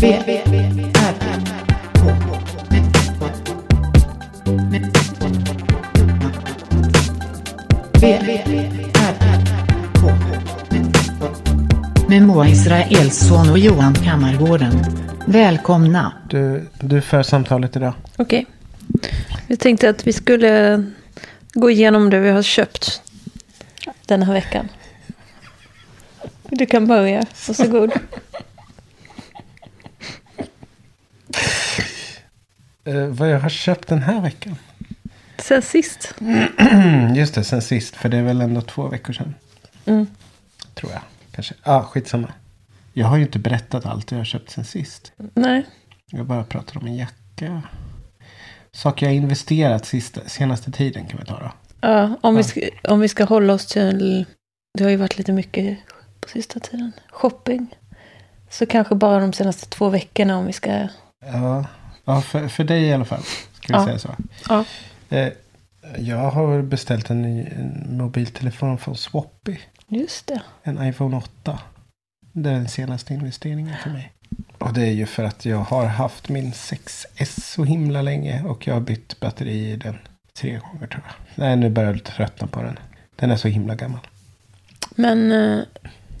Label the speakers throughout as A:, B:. A: V, V, R, K. V, V, R, K. Med Moa Israelsson och Johan Kammargården. Välkomna.
B: Du, du för samtalet idag.
C: Okej. Vi tänkte att vi skulle gå igenom det vi har köpt den här veckan. Du kan börja. Varsågod.
B: Eh, vad jag har köpt den här veckan?
C: Sen sist.
B: Just det, sen sist. För det är väl ändå två veckor sedan.
C: Mm.
B: Tror jag. Kanske. Ja, ah, skitsamma. Jag har ju inte berättat allt jag har köpt sen sist.
C: Nej.
B: Jag bara pratar om en jacka. Saker jag har investerat sista, senaste tiden kan vi ta då.
C: Ja, om, Vi ska, om vi ska hålla oss till... Det har ju varit lite mycket på sista tiden. Shopping. Så kanske bara de senaste två veckorna om vi ska...
B: Ja, ja för, för dig i alla fall. Ska vi
C: Ja.
B: säga så.
C: Ja.
B: Eh, jag har beställt en ny en mobiltelefon från Swappy.
C: Just det.
B: En iPhone 8. Det är den senaste investeringen för mig. Och det är ju för att jag har haft min 6S så himla länge. Och jag har bytt batteri i den tre gånger tror jag. Nej, nu börjar jag tröttna på den. Den är så himla gammal.
C: Men eh,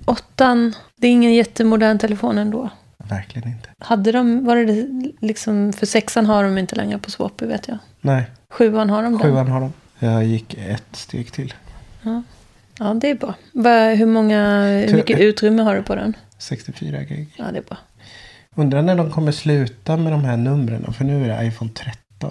C: åttan, det är ingen jättemodern telefon ändå.
B: Verkligen inte.
C: Hade de, var det liksom, för sexan har de inte längre på Swappy vet jag.
B: Nej,
C: Sjuan har de den.
B: sjuan har de. Jag gick ett steg till.
C: Ja, det är bra. Vad- Hur, många, hur
B: Ty-
C: mycket utrymme har du på den?
B: 64 gig.
C: Ja, det är bra.
B: Undrar när de kommer sluta med de här numren. För nu är det iPhone 13.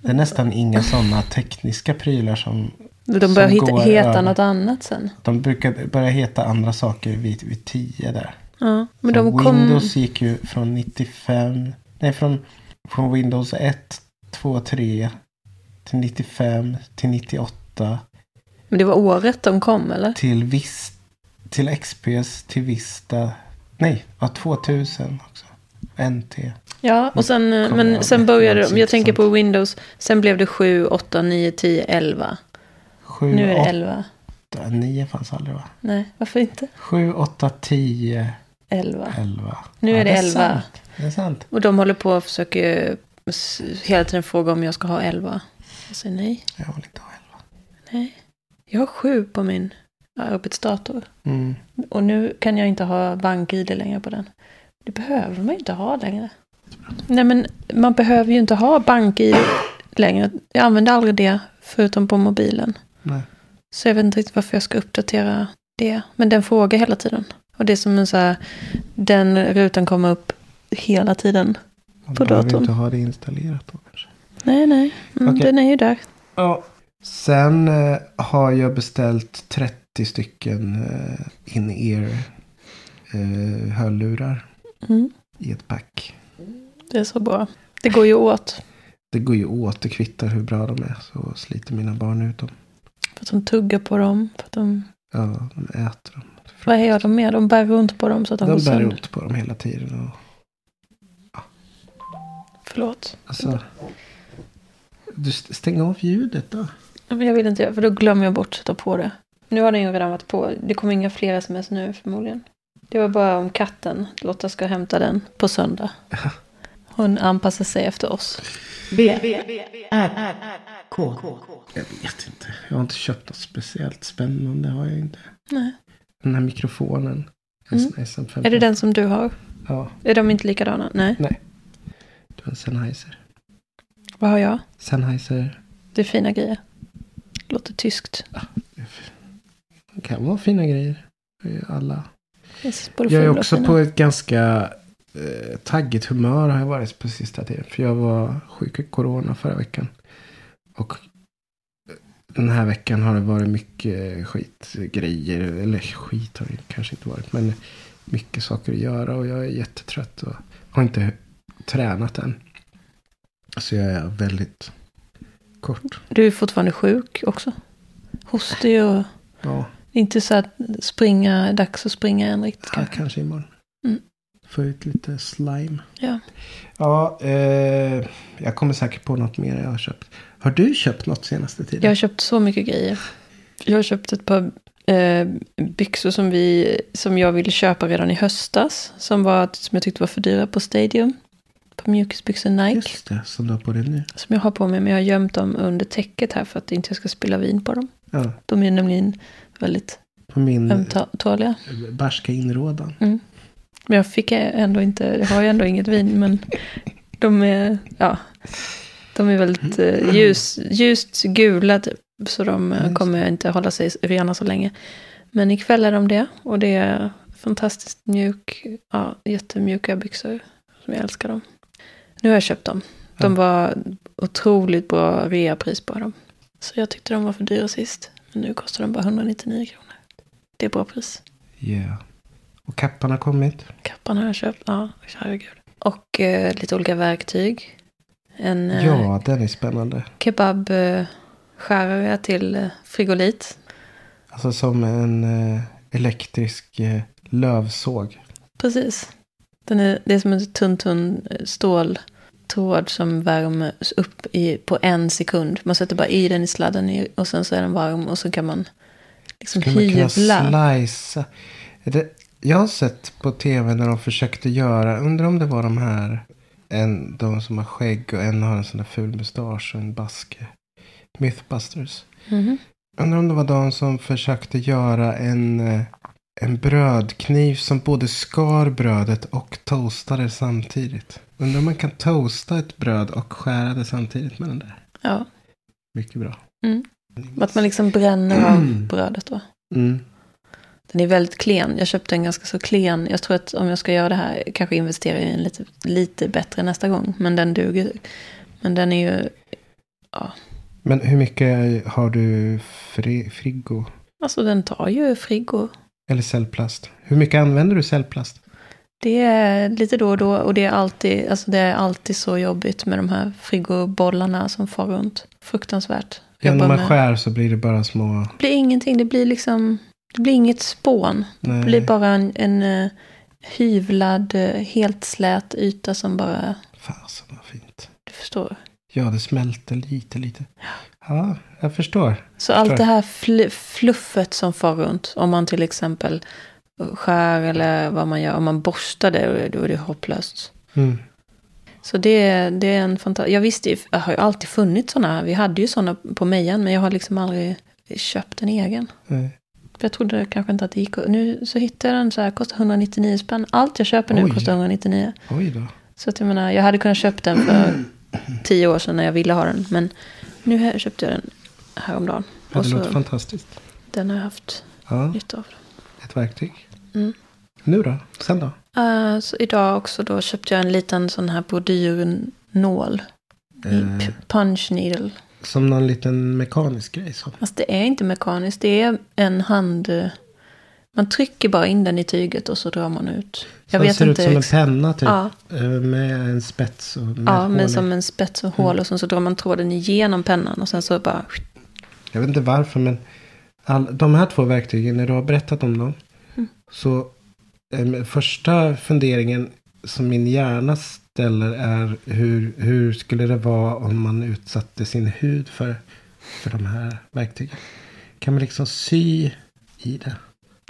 B: Det är nästan inga sådana tekniska prylar som
C: De börjar
B: Som
C: hitta,
B: går
C: heta
B: över.
C: något annat sen.
B: De brukar börja heta andra saker vid, vid 10 där.
C: Ja, men
B: Så
C: de kom...
B: Windows gick ju från 95, nej från, från Windows 1, 2, 3 till 95 till 98
C: Men det var året de kom, eller?
B: till Vis, till XPS till Vista, nej, ja, 2000 också. NT.
C: Ja, och sen, eh,
B: Kommer
C: men
B: jag
C: sen
B: ihåg.
C: började
B: Det
C: de...
B: är
C: Jag tänker på Windows. Sen blev det 7, 8, 9, 10, 11.
B: 7,
C: Nu är det 11.
B: 8, 9 fanns aldrig va?
C: Nej, varför inte?
B: 7, 8, 10,
C: 11.
B: 11.
C: Nu är det
B: är
C: 11.
B: sant. Det är sant.
C: Och de håller på och försöker eh, s- hela tiden fråga om jag ska ha 11. Jag säger nej.
B: Jag vill inte ha 11.
C: Nej. Jag har 7 på min arbetsdator.
B: Mm.
C: Och nu kan jag inte ha bank-id längre på den. Det behöver man ju inte ha längre. Nej men man behöver ju inte ha bank-id längre. Jag använder aldrig det förutom på mobilen.
B: Nej.
C: Så jag vet inte riktigt varför jag ska uppdatera det. Men den frågar hela tiden. Och det är som en så här, den rutan kommer upp hela tiden.
B: Man
C: På
B: behöver ju
C: datorn.
B: inte ha det installerat då kanske.
C: Nej, nej. Mm,
B: Okej.
C: Den är ju där.
B: Ja. Sen eh, har jag beställt 30 stycken eh, in-ear eh, hörlurar
C: Mm,
B: i ett pack.
C: det är så bra. Det går ju åt.
B: Det går ju åt, det kvittar hur bra de är. Så sliter mina barn ut dem.
C: För att de tuggar på dem. För att de,
B: Ja, de äter dem.
C: vad gör de med? De bär runt på dem så att de,
B: De
C: går
B: bär
C: sönder.
B: ont på dem hela tiden. Och,
C: Förlåt.
B: alltså, du st- stäng av ljudet då.
C: Ja, Men jag vill inte göra för då glömmer jag bort att sätta på det. Nu har den ju redan varit på. Det kommer inga fler sms nu förmodligen. Det var bara om katten. Lotta ska hämta den på söndag. Hon anpassar sig efter oss.
A: V, V, R, K.
B: Jag vet inte. Jag har inte köpt något speciellt spännande. har jag inte.
C: Nej.
B: Den här mikrofonen.
C: Mm.
B: en sån här SM15.
C: Är det den som du har?
B: Ja,
C: Är de inte likadana? Nej.
B: det var en Sennheiser.
C: Vad har jag?
B: Sennheiser
C: Det är fina grejer. Låter tyskt.
B: Det kan vara fina grejer. Det är ju Alla.
C: Det är både
B: Jag är
C: fula och
B: också
C: fina.
B: på ett ganska eh, taggigt humör har jag varit på sista tiden. För jag var sjuk i corona förra veckan. Och den här veckan har det varit mycket skitgrejer. Eller skit har det kanske inte varit. Men mycket saker att göra. Och jag är jättetrött och har inte tränat än. Så jag är väldigt kort.
C: Du är fortfarande sjuk också. Hostig och
B: Ja,
C: inte så att springa, dags att springa än riktigt
B: kanske,
C: kanske.
B: kanske imorgon.
C: Mm.
B: Få ut lite slime.
C: Ja.
B: Ja, eh, jag kommer säkert på något mer jag har köpt. Har du köpt något senaste tiden?
C: Jag har köpt så mycket grejer. Jag har köpt ett par eh, byxor som, vi, som jag ville köpa redan i höstas. Som, var, som jag tyckte var för dyra på Stadium. På mjukisbyxor Nike.
B: Just det, som du har på dig nu.
C: Som jag har på mig, men jag har gömt dem under täcket här för att inte jag ska spilla vin på dem.
B: Ja,
C: De är nämligen väldigt
B: på min eh,
C: ömtåliga.
B: barska inrådan.
C: Men jag fick ändå inte, jag har ju ändå inget vin, men de är, ja, de är väldigt eh, ljus, ljust gula typ. Så de eh,
B: Nice.
C: kommer inte hålla sig rena så länge. Men ikväll är de det och det är fantastiskt mjuk, ja, jättemjuka byxor. Som jag älskar dem. Nu har jag köpt dem. De var otroligt bra reapris på dem. Så jag tyckte de var för dyra sist. Men nu kostar de bara 199 kronor. Det är bra pris.
B: Yeah. Och kappan har kommit.
C: Kappan har jag köpt, ja, herregud. Och eh, lite olika verktyg. En eh,
B: Ja, den är spännande.
C: kebabskärare till eh, frigolit.
B: Alltså som en eh, elektrisk eh, lövsåg.
C: Precis. Den är, det är som en tunn, tunn eh, ståltråd som värms upp i, på en sekund. Man sätter bara i den i sladden i- och sen så är den varm och så kan man liksom
B: Skulle man kunna
C: hyvla.
B: slicea? Är det- Jag har sett på tv när de försökte göra, undrar om det var de här, en, de som har skägg och en har en sån där ful mustasch och en baske. Mythbusters.
C: Mhm.
B: Undrar om det var de som försökte göra en, eh, en brödkniv som både skar brödet och toastade samtidigt. Undrar om man kan toasta ett bröd och skära det samtidigt med den där.
C: Ja,
B: Mycket bra.
C: Mm. att man liksom bränner av brödet då.
B: Mm.
C: Den är väldigt klen. Jag köpte en ganska så klen. Jag tror att om jag ska göra det här, kanske investera i en lite, lite bättre nästa gång. Men den duger. Men den är ju,
B: Men hur mycket har du fri, frigo?
C: alltså den tar ju frigo.
B: Eller cellplast? Hur mycket använder du cellplast?
C: Det är lite då och då och det är alltid, alltså det är alltid så jobbigt med de här frigobollarna som far runt. Fruktansvärt.
B: Ja, när
C: Jobba
B: man
C: med-
B: skär så blir det bara små...
C: Det blir ingenting, det blir liksom, det blir inget spån. Det blir
B: Nej,
C: bara en, en eh, hyvlad, eh, helt slät yta som bara,
B: fasen vad fint.
C: du förstår.
B: Ja, det smälter lite, lite. Ja, jag förstår.
C: Så allt
B: Förstår.
C: det här fl- fluffet som far runt, om man till exempel skär eller vad man gör, om man borstar det, då är det hopplöst.
B: Mm.
C: Så det, det är en fantastisk... Jag visste ju, jag har ju alltid funnits sådana här. Vi hade ju sådana på Mejan, men jag har liksom aldrig köpt en egen.
B: Nej.
C: För Jag trodde kanske inte att det gick. att- Nu så hittade jag den så här, kostar 199 spänn. Allt jag köper nu
B: Oj.
C: kostar 199.
B: Oj då.
C: Så att jag menar, jag hade kunnat köpt den för tio år sedan när jag ville ha den. Men nu här köpte jag den häromdagen.
B: Ja,
C: Och
B: det låter
C: så,
B: fantastiskt.
C: den har jag haft
B: Ja,
C: nytta av.
B: ett verktyg.
C: Mm.
B: Nu då? Sen då?
C: Eh, så idag också då köpte jag en liten sån här brodyrnål.
B: Eh,
C: P- Punch needle.
B: som någon liten mekanisk grej. Så.
C: Fast det är inte mekaniskt. Det är en hand... eh, Man trycker bara in den i tyget och så drar man ut. Jag
B: Som
C: vet
B: ser
C: inte.
B: ut som en
C: ex-
B: penna typ.
C: Ja.
B: Eh, Med en spets och med
C: Ja, men
B: hål i. Mm.
C: som en spets och hål och sen så drar man tråden igenom pennan och sen så bara...
B: Jag vet inte varför men all, de här två verktygen, när du har berättat om dem.
C: Mm.
B: Så eh, första funderingen som min hjärna ställer är hur, hur skulle det vara om man utsatte sin hud för, för de här verktygen? Kan man liksom sy i det?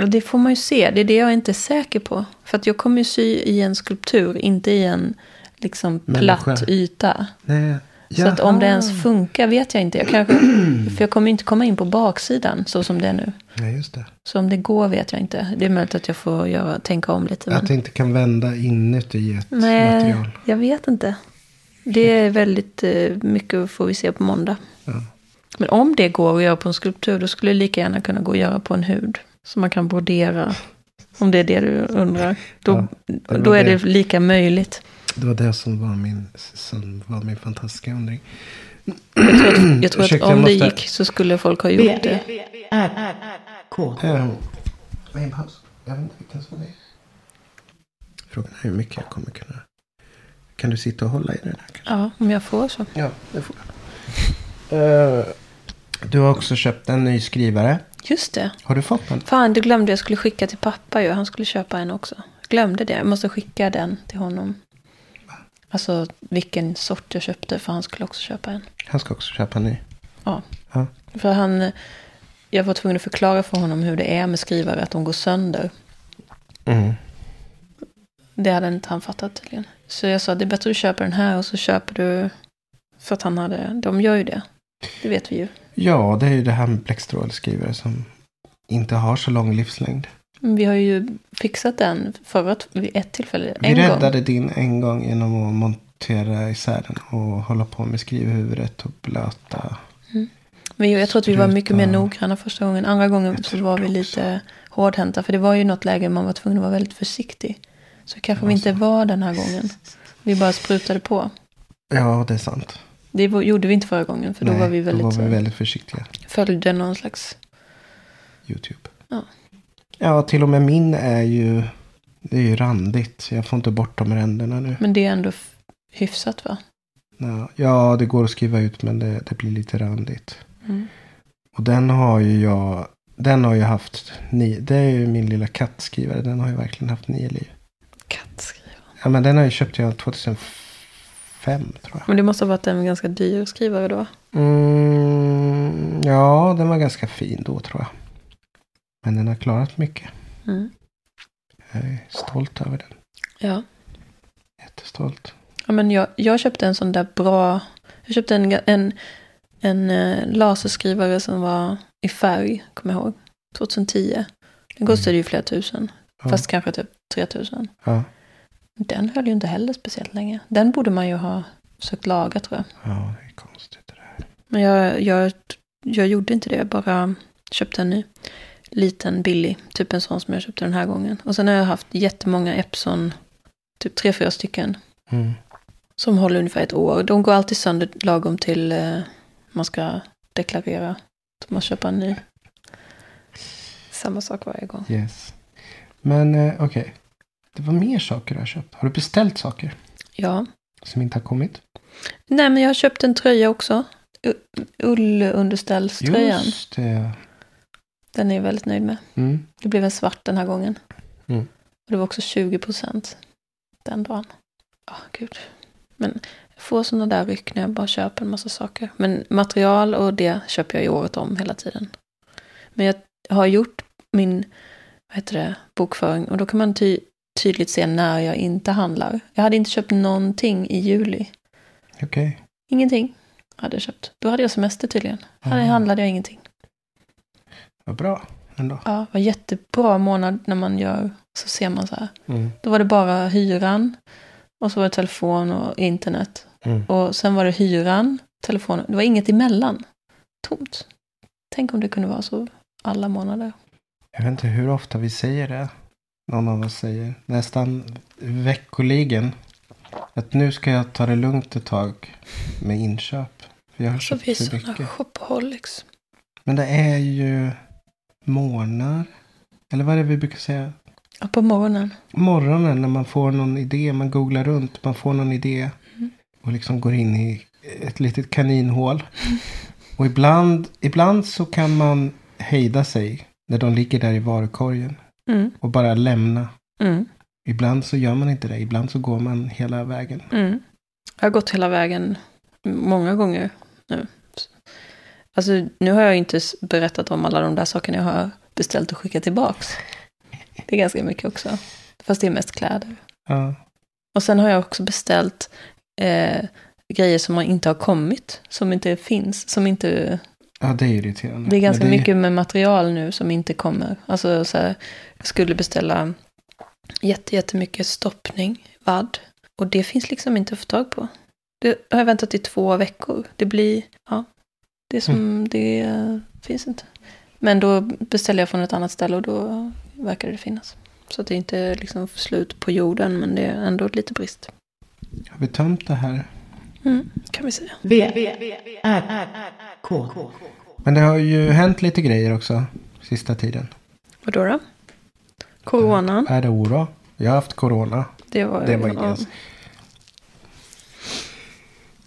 C: Och det får man ju se. Det är det jag inte är säker på. För att jag kommer ju sy i en skulptur, inte i en liksom platt
B: Människa.
C: yta.
B: Nej.
C: Så att om det
B: Jaha.
C: ens funkar vet jag inte. Jag kanske, för jag kommer inte komma in på baksidan så som det är nu.
B: Nej, just det.
C: Så om det går vet jag inte. Det är möjligt att jag får göra, tänka om lite. Men...
B: Att det inte kan vända inuti ett
C: Nej,
B: material.
C: jag vet inte. Det är väldigt eh, mycket får vi se på måndag.
B: Ja.
C: Men om det går att göra på en skulptur, då skulle det lika gärna kunna gå att göra på en hud. Så man kan brodera. Om det är det du undrar. Då,
B: det var
C: då är
B: det.
C: det lika möjligt.
B: Det var det som var min, som var min fantastiska undring.
C: Jag tror att, jag tror
B: Ursäkta,
C: att om
B: jag
C: det
B: måste-
C: gick så skulle folk ha
A: B,
C: gjort det.
A: R, R, R, K.
B: Eh, Vad är en paus? Jag vet inte vilken som det är. Frågan är hur mycket jag kommer kunna... Kan du sitta och hålla i den här? kanske?
C: Ja, om jag får så.
B: Ja, det får jag. Eh, Du har också köpt en ny skrivare.
C: Just det.
B: Har du fått den?
C: Fan, du glömde jag skulle skicka till pappa ju. Han skulle köpa en också. Glömde det. Jag måste skicka den till honom. Alltså vilken sort jag köpte, för han skulle också köpa en.
B: Han ska också köpa en ny.
C: Ja.
B: Ja.
C: För han, jag var tvungen att förklara för honom hur det är med skrivare, att de går sönder.
B: Mm.
C: Det hade inte han fattat tydligen. Så jag sa, det är bättre att du köper den här och så köper du... För att han hade, de gör ju det. Det vet vi ju.
B: Ja, det är ju det här med bläckstrålskrivare som inte har så lång livslängd.
C: Men vi har ju fixat den förra, t- vid ett tillfälle,
B: Vi
C: en gång.
B: räddade din en gång genom att montera isär den och hålla på med skrivhuvudet och blöta.
C: Men jag tror att vi var mycket mer
B: Ruta.
C: noggranna första gången. Andra gången
B: Jag
C: så
B: tror
C: var
B: det
C: vi
B: också.
C: lite hårdhänta. För det var ju något läge man var tvungen att vara väldigt försiktig. Så kanske vi
B: Alltså.
C: inte var den här gången. Vi bara sprutade på.
B: Ja, det är sant.
C: Det var- gjorde vi inte förra gången. För då
B: Nej,
C: var vi väldigt,
B: då var vi
C: så-
B: väldigt försiktiga.
C: följde någon slags...
B: YouTube.
C: Ja.
B: Ja, till och med min är ju... Det är ju randigt. Jag får inte bort de ränderna nu.
C: Men det är ändå f- hyfsat va?
B: Ja, ja det går att skriva ut men det, det blir lite randigt.
C: Mm.
B: Och den har ju jag... Den har ju haft nio... Det är ju min lilla kattskrivare. Den har ju verkligen haft nio liv.
C: Kattskriv.
B: Ja, men den har jag köpt jag 2005 tror jag.
C: Men det måste ha varit en ganska dyr skrivare då.
B: Mm, ja, den var ganska fin då tror jag. Men den har klarat mycket.
C: Mm.
B: Jag är stolt över den.
C: Ja.
B: Jättestolt.
C: ja men jag, jag köpte en sån där bra... Jag köpte en, ga- en, en eh, laserskrivare som var i färg, kommer jag ihåg. 2010. Den kostade ju flera tusen.
B: Mm. Ja.
C: Fast kanske typ 3000.
B: Ja.
C: Den höll ju inte heller speciellt länge. Den borde man ju ha försökt laga tror jag.
B: ja, det är konstigt det där.
C: Men jag, jag, jag gjorde inte det, jag bara köpte en ny. Liten billig, typ en sån som jag köpte den här gången. Och sen har jag haft jättemånga Epson, typ tre, fyra stycken.
B: Mm.
C: Som håller ungefär ett år. De går alltid sönder lagom till eh, man ska deklarera. Så man köper en ny. Samma sak varje gång.
B: Yes. Men eh, okej. Det var mer saker du har köpt. Har du beställt saker
C: Ja.
B: som inte har kommit?
C: Nej, men jag har köpt en tröja också. U- Ullunderställströjan.
B: Just det.
C: Den är jag väldigt nöjd med.
B: Mm.
C: Det blev en svart den här gången.
B: Mm.
C: Och det var också 20 procent den dagen. Ja, gud. Men jag får sådana där ryck när jag bara köper en massa saker. Men material och det köper jag ju året om hela tiden. Men jag har gjort min vad heter det, bokföring och då kan man ty- tydligt se när jag inte handlar. Jag hade inte köpt någonting i juli.
B: Okej.
C: Ingenting hade jag köpt. Då hade jag semester tydligen. Här
B: Mm.
C: handlade jag ingenting.
B: Vad bra ändå.
C: Ja, det var jättebra månad när man gör så ser man så här.
B: Mm.
C: Då var det bara hyran och så var det telefon och internet.
B: Mm.
C: Och sen var det hyran, telefon. Det var inget emellan. Tomt. Tänk om det kunde vara så alla månader.
B: Jag vet inte hur ofta vi säger det. Någon av oss säger nästan veckoligen. Att nu ska jag ta det lugnt ett tag med inköp. För jag har
C: Så
B: köpt
C: Alltså, vi är
B: för mycket.
C: sådana shopaholics.
B: Men det är ju morgnar. Eller vad är det vi brukar säga?
C: Ja, på morgonen.
B: morgonen när man får någon idé, man googlar runt, man får någon idé
C: Mm.
B: och liksom går in i ett litet kaninhål. Och ibland, ibland så kan man hejda sig när de ligger där i varukorgen
C: Mm,
B: och bara lämna.
C: mm,
B: Ibland så gör man inte det, ibland så går man hela vägen.
C: mm. Jag har gått hela vägen många gånger nu. Alltså, nu har jag ju inte s- berättat om alla de där sakerna jag har beställt och skickat tillbaks. Det är ganska mycket också. Fast det är mest kläder.
B: Ja,
C: Och sen har jag också beställt eh, grejer som har- inte har kommit, som inte finns, som inte...
B: ja det är irriterande.
C: Det är ganska
B: Men
C: mycket med material nu som inte kommer. Alltså så här, jag skulle beställa jätte, jättemycket stoppning, vadd, och det finns liksom inte att få tag på. Det har jag väntat i två veckor. Det blir, ja, det är som, det eh, finns inte. Men då beställer jag från ett annat ställe och då verkar det finnas. Så att det inte är liksom slut på jorden, men det är ändå lite brist.
B: Har vi tömt det här?
C: Mm, kan vi säga.
A: V, V, R, R, K.
B: Men det har ju hänt lite grejer också sista tiden.
C: Vadå då? Coronan.
B: Är det oro? Jag har haft corona.
C: Det var,
B: Mm. Det var
C: ja.
B: ingen.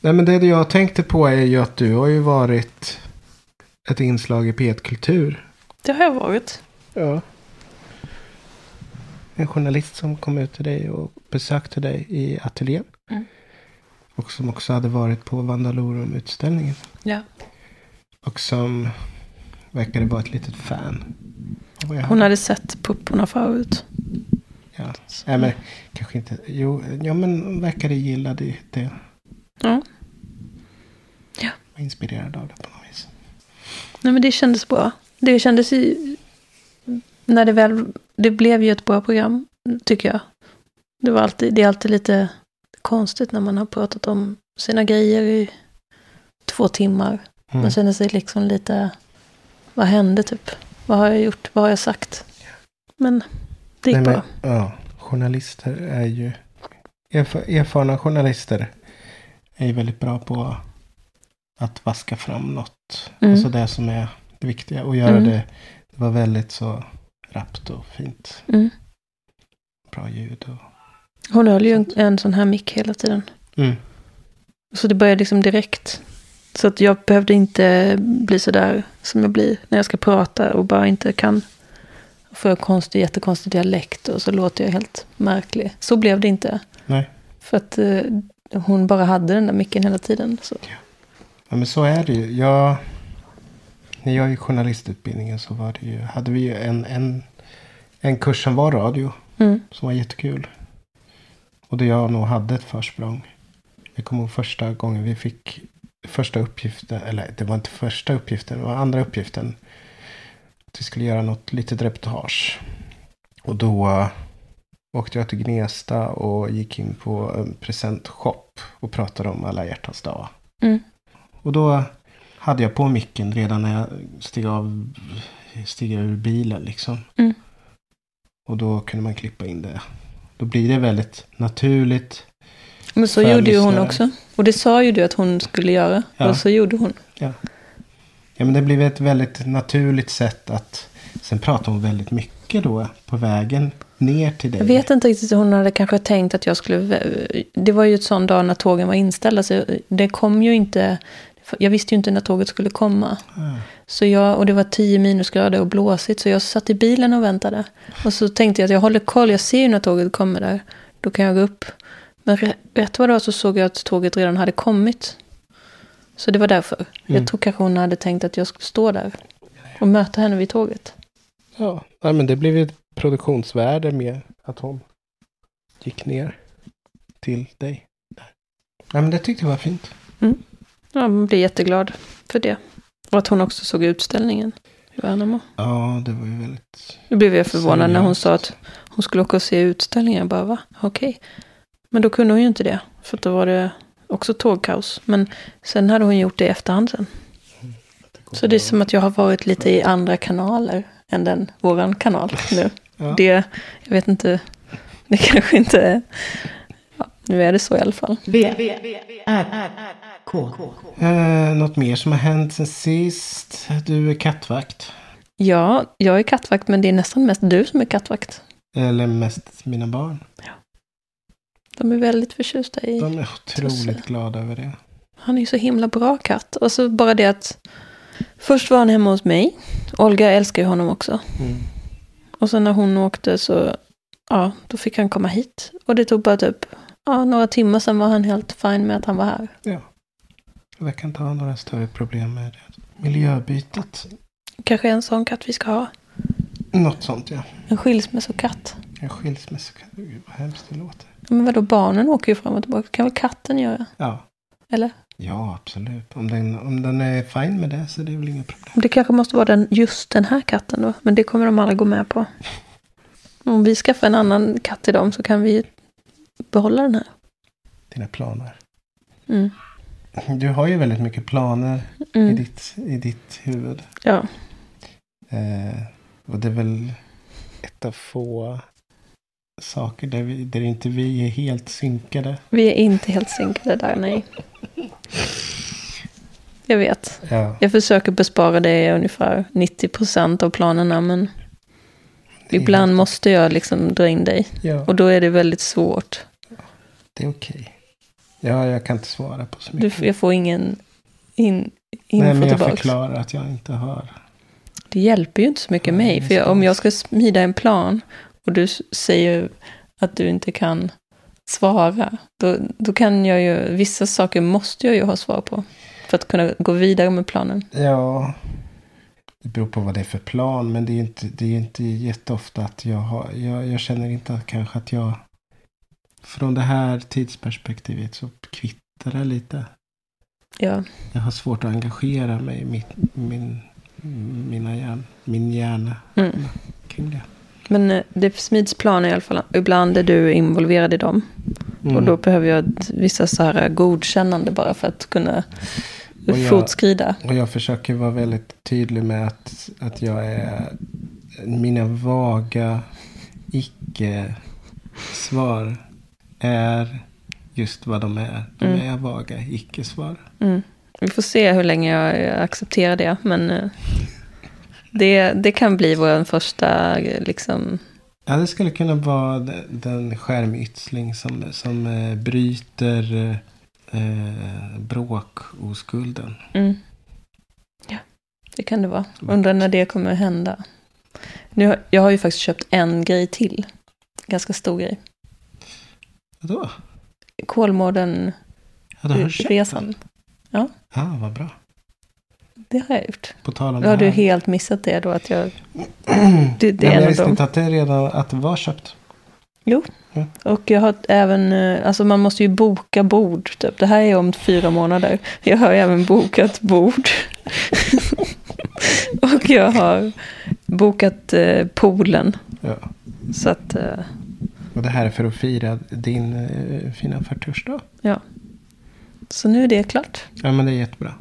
B: Nej men det jag tänkte på är ju att du har ju varit ett inslag i P1 Kultur.
C: Det har jag varit.
B: Ja. En journalist som kom ut till dig och besökte dig i ateljén.
C: Mm.
B: Och som också hade varit på Vandalorum-utställningen.
C: Ja.
B: Och som verkade vara ett litet fan. av vad jag
C: Hon
B: hade.
C: hade sett pupporna förut.
B: Ja. Nej, men kanske inte. Jo, ja, men verkade gilla det. det.
C: Ja.
B: Var inspirerad av det på något vis.
C: Nej, men det kändes bra. Det kändes ju... När det väl... Det blev ju ett bra program, tycker jag. Det, var alltid, det är alltid lite konstigt när man har pratat om sina grejer i två timmar.
B: Mm.
C: Man känner sig liksom lite... Vad hände, typ? Vad har jag gjort? Vad har jag sagt? Men det gick
B: Nej,
C: bra.
B: men, ja, journalister är ju... Erf- erfarna journalister är ju väldigt bra på att vaska fram något.
C: Mm.
B: Alltså det som är det viktiga. Och göra
C: Mm.
B: det. Det var väldigt så rappt och fint.
C: Mm.
B: Bra ljud och...
C: Hon höll ju en, en sån här mick hela tiden.
B: Mm.
C: Så det började liksom direkt. Så att jag behövde inte bli sådär som jag blir när jag ska prata och bara inte kan. Får jag konstig, jättekonstig dialekt och så låter jag helt märklig. Så blev det inte.
B: Nej.
C: För att eh, hon bara hade den där micken hela tiden. Så.
B: Ja, men så är det ju. Jag, när jag gick journalistutbildningen så var det ju, hade vi ju en, en, en kurs som var radio.
C: Mm.
B: Som var jättekul. Och där jag nog hade ett försprång. Jag kommer ihåg första gången vi fick första uppgiften. Eller det var inte första uppgiften, det var andra uppgiften. Att vi skulle göra något litet reportage. Och då eh, åkte jag till Gnesta och gick in på en presentshop. Och pratade om alla hjärtans dag.
C: Mm.
B: Och då hade jag på micken redan när jag steg, av, steg ur bilen. Liksom.
C: Mm.
B: Och då kunde man klippa in det. Då blir det väldigt naturligt.
C: Men så
B: För
C: gjorde ju hon
B: lyssnare.
C: också. Och det sa ju du att hon skulle göra.
B: Ja.
C: Och så gjorde hon.
B: Ja, men det blev ett väldigt naturligt sätt att... Sen pratade hon väldigt mycket då på vägen ner till dig.
C: Jag vet inte riktigt hur hon hade kanske tänkt att jag skulle... Det var ju ett sån dag när tågen var inställda, så det kom ju inte... Jag visste ju inte när tåget skulle komma.
B: Ah.
C: Så jag, och det var 10 minusgrader och blåsigt, så jag satt i bilen och väntade. Och så tänkte jag att jag håller koll, jag ser ju när tåget kommer där. Då kan jag gå upp. Men rä- rätt vad det var så såg jag att tåget redan hade kommit. Så det var därför.
B: Mm.
C: Jag tror kanske hon hade tänkt att jag skulle stå där och möta henne vid tåget.
B: Ja, nej, men det blev ju ett produktionsvärde med att hon gick ner till dig. Där. Ja, men det tyckte jag var fint.
C: Ja, man blir jätteglad för det. Och att hon också såg utställningen i Värnamo.
B: Ja, det var ju väldigt...
C: Då blev jag förvånad när hon
B: Seriöst.
C: sa att hon skulle åka och se utställningen. Jag bara, va? Okej. Men då kunde hon ju inte det. För att då var det också tågkaos. Men sen hade hon gjort det i efterhand sen. Så det är som att jag har varit lite i andra kanaler än den, våran kanal nu.
B: Ja.
C: Det, jag vet inte, det kanske inte är... Ja, nu är det så i alla fall.
A: V, V, V, R, R, R, K.
B: Eh, något mer som har hänt sen sist? Du är kattvakt.
C: Ja, jag är kattvakt, men det är nästan mest du som är kattvakt.
B: Eller mest mina barn.
C: De är väldigt förtjusta i...
B: De är otroligt
C: Tusse.
B: glada över det.
C: Han är ju så himla bra katt. Och så bara det att först var han hemma hos mig. Olga älskar ju honom också.
B: Mm.
C: Och sen när hon åkte så, ja, då fick han komma hit. Och det tog bara typ, ja, några timmar sen var han helt fin med att han var här.
B: Jag verkar inte ha några större problem med det. Miljöbytet.
C: Kanske en sån katt vi ska ha.
B: Något sånt ja.
C: En skilsmässokatt.
B: En skilsmässa. Gud, Vad hemskt det låter.
C: Men vadå, barnen åker ju fram och tillbaka. kan väl katten göra?
B: Ja.
C: Eller?
B: Ja, absolut. Om den, om den är fin med det så är det väl inga problem.
C: Det kanske måste vara den, just den här katten då. Men det kommer de aldrig gå med på. Om vi skaffar en annan katt till dem så kan vi behålla den här.
B: Dina planer.
C: Mm.
B: Du har ju väldigt mycket planer i,
C: Mm.
B: ditt, i ditt huvud.
C: Ja.
B: Eh, och det är väl ett av få saker där, vi, där inte vi är helt synkade.
C: Vi är inte helt synkade där, nej. Jag vet.
B: Ja.
C: Jag försöker bespara det ungefär 90 procent av planerna, men ibland måste jag liksom dra in dig.
B: Ja,
C: Och då är det väldigt svårt.
B: det är okej. Ja, jag kan inte svara på så
C: Du,
B: mycket.
C: jag får ingen in,
B: Nej,
C: info
B: men jag
C: tillbaka.
B: förklarar att jag inte hör.
C: Det hjälper ju inte så mycket
B: Nej,
C: mig, för jag, om jag ska smida en plan och du s- säger att du inte kan svara, då, då kan jag ju, vissa saker måste jag ju ha svar på för att kunna gå vidare med planen.
B: Ja, Det beror på vad det är för plan. Men det är ju inte, det är ju inte jätteofta att jag har... Jag, jag känner inte att kanske att jag... Från det här tidsperspektivet så kvittar det lite.
C: Ja,
B: Jag har svårt att engagera mig i mitt, min, mina hjärn, min hjärna
C: mm.
B: kring det.
C: men eh, det smids planer i alla fall. Ibland är du involverad i dem.
B: Mm.
C: Och då behöver jag ett- vissa så här eh, godkännande bara för att kunna
B: Och jag-
C: fortskrida.
B: Och jag försöker vara väldigt tydlig med att, att jag är... Mina vaga icke-svar är just vad de är. De
C: Mm.
B: är vaga icke-svar.
C: Mm. Vi får se hur länge jag eh, accepterar det. Men eh, det, det kan bli vår första eh, liksom...
B: Ja, det skulle kunna vara de- den skärmytsling som, som eh, bryter eh, bråkoskulden.
C: Mm. Ja, det kan det vara. Undrar när det kommer hända. Nu, har- jag har ju faktiskt köpt en grej till. Ganska stor grej.
B: Vadå?
C: Kolmården-resan.
B: Ja, då har du köpt den. Ja, vad bra.
C: Det har jag gjort.
B: På tal om
C: Då har
B: det
C: du
B: här.
C: helt missat det då att jag... Det, det
B: Nej, men
C: är en
B: jag
C: av
B: visste
C: dem.
B: inte att det redan att det var köpt.
C: Och jag har även, eh, alltså man måste ju boka bord typ. Det här är om fyra månader. Jag har även bokat bord. och jag har bokat eh, poolen.
B: Ja.
C: Så att, eh,
B: Och det här är för att fira din eh, fina 40-årsdag.
C: så nu är det klart.
B: Ja, men det är jättebra.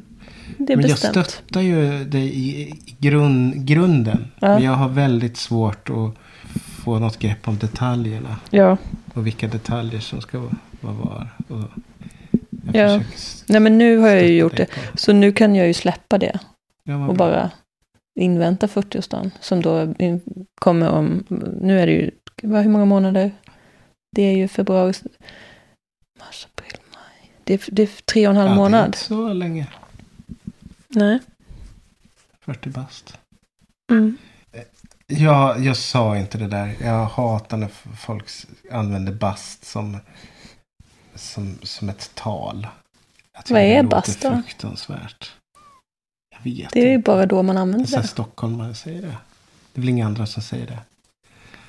C: Det är
B: men
C: bestämt.
B: jag stöttar ju dig i, i grund, grunden.
C: Ja.
B: Men jag har väldigt svårt att få något grepp om detaljerna.
C: Ja,
B: Och vilka detaljer som ska vara vara var. Och jag
C: Ja.
B: försöker s-
C: nej men nu har jag ju
B: stötta
C: gjort
B: dig
C: det.
B: på.
C: Så nu kan jag ju släppa det
B: Ja, vad
C: och
B: bra.
C: bara invänta 40-årsdagen. Som då in- kommer om, nu är det ju, vad, hur många månader? Det är ju februari, mars, april, maj. Det är, det är tre och en
B: Ja,
C: halv
B: det är
C: månad.
B: inte så länge.
C: Nej.
B: 40 bast.
C: Mm.
B: Ja, jag sa inte det där. Jag hatar när f- folk s- använder bast som, som, som ett tal. Jag tycker
C: Vad är
B: det låter
C: bast då?
B: fruktansvärt. Jag vet
C: Det är ju
B: inte.
C: bara då man
B: Det är
C: använder
B: så här
C: det.
B: stockholmare säger det. Det är väl inga andra som säger det.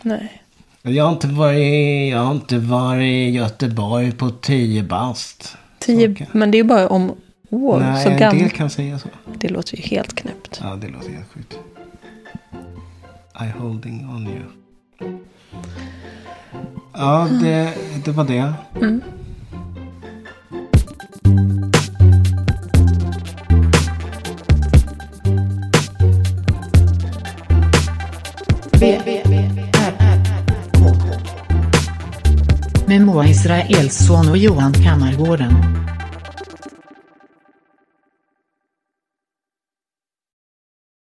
C: Nej.
B: Jag har inte varit, jag har inte varit i Göteborg på 10 bast.
C: Tio,
B: Okej.
C: men det är ju bara om år.
B: Nej,
C: så
B: en
C: gam-
B: del kan säga så.
C: Det låter ju helt knäppt.
B: Ja, det låter helt sjukt. I holding on you. Ja, det, det var det.
C: Mm.
A: B, B, B, R, R, K. Med Moa Israelsson och Johan Kammargården.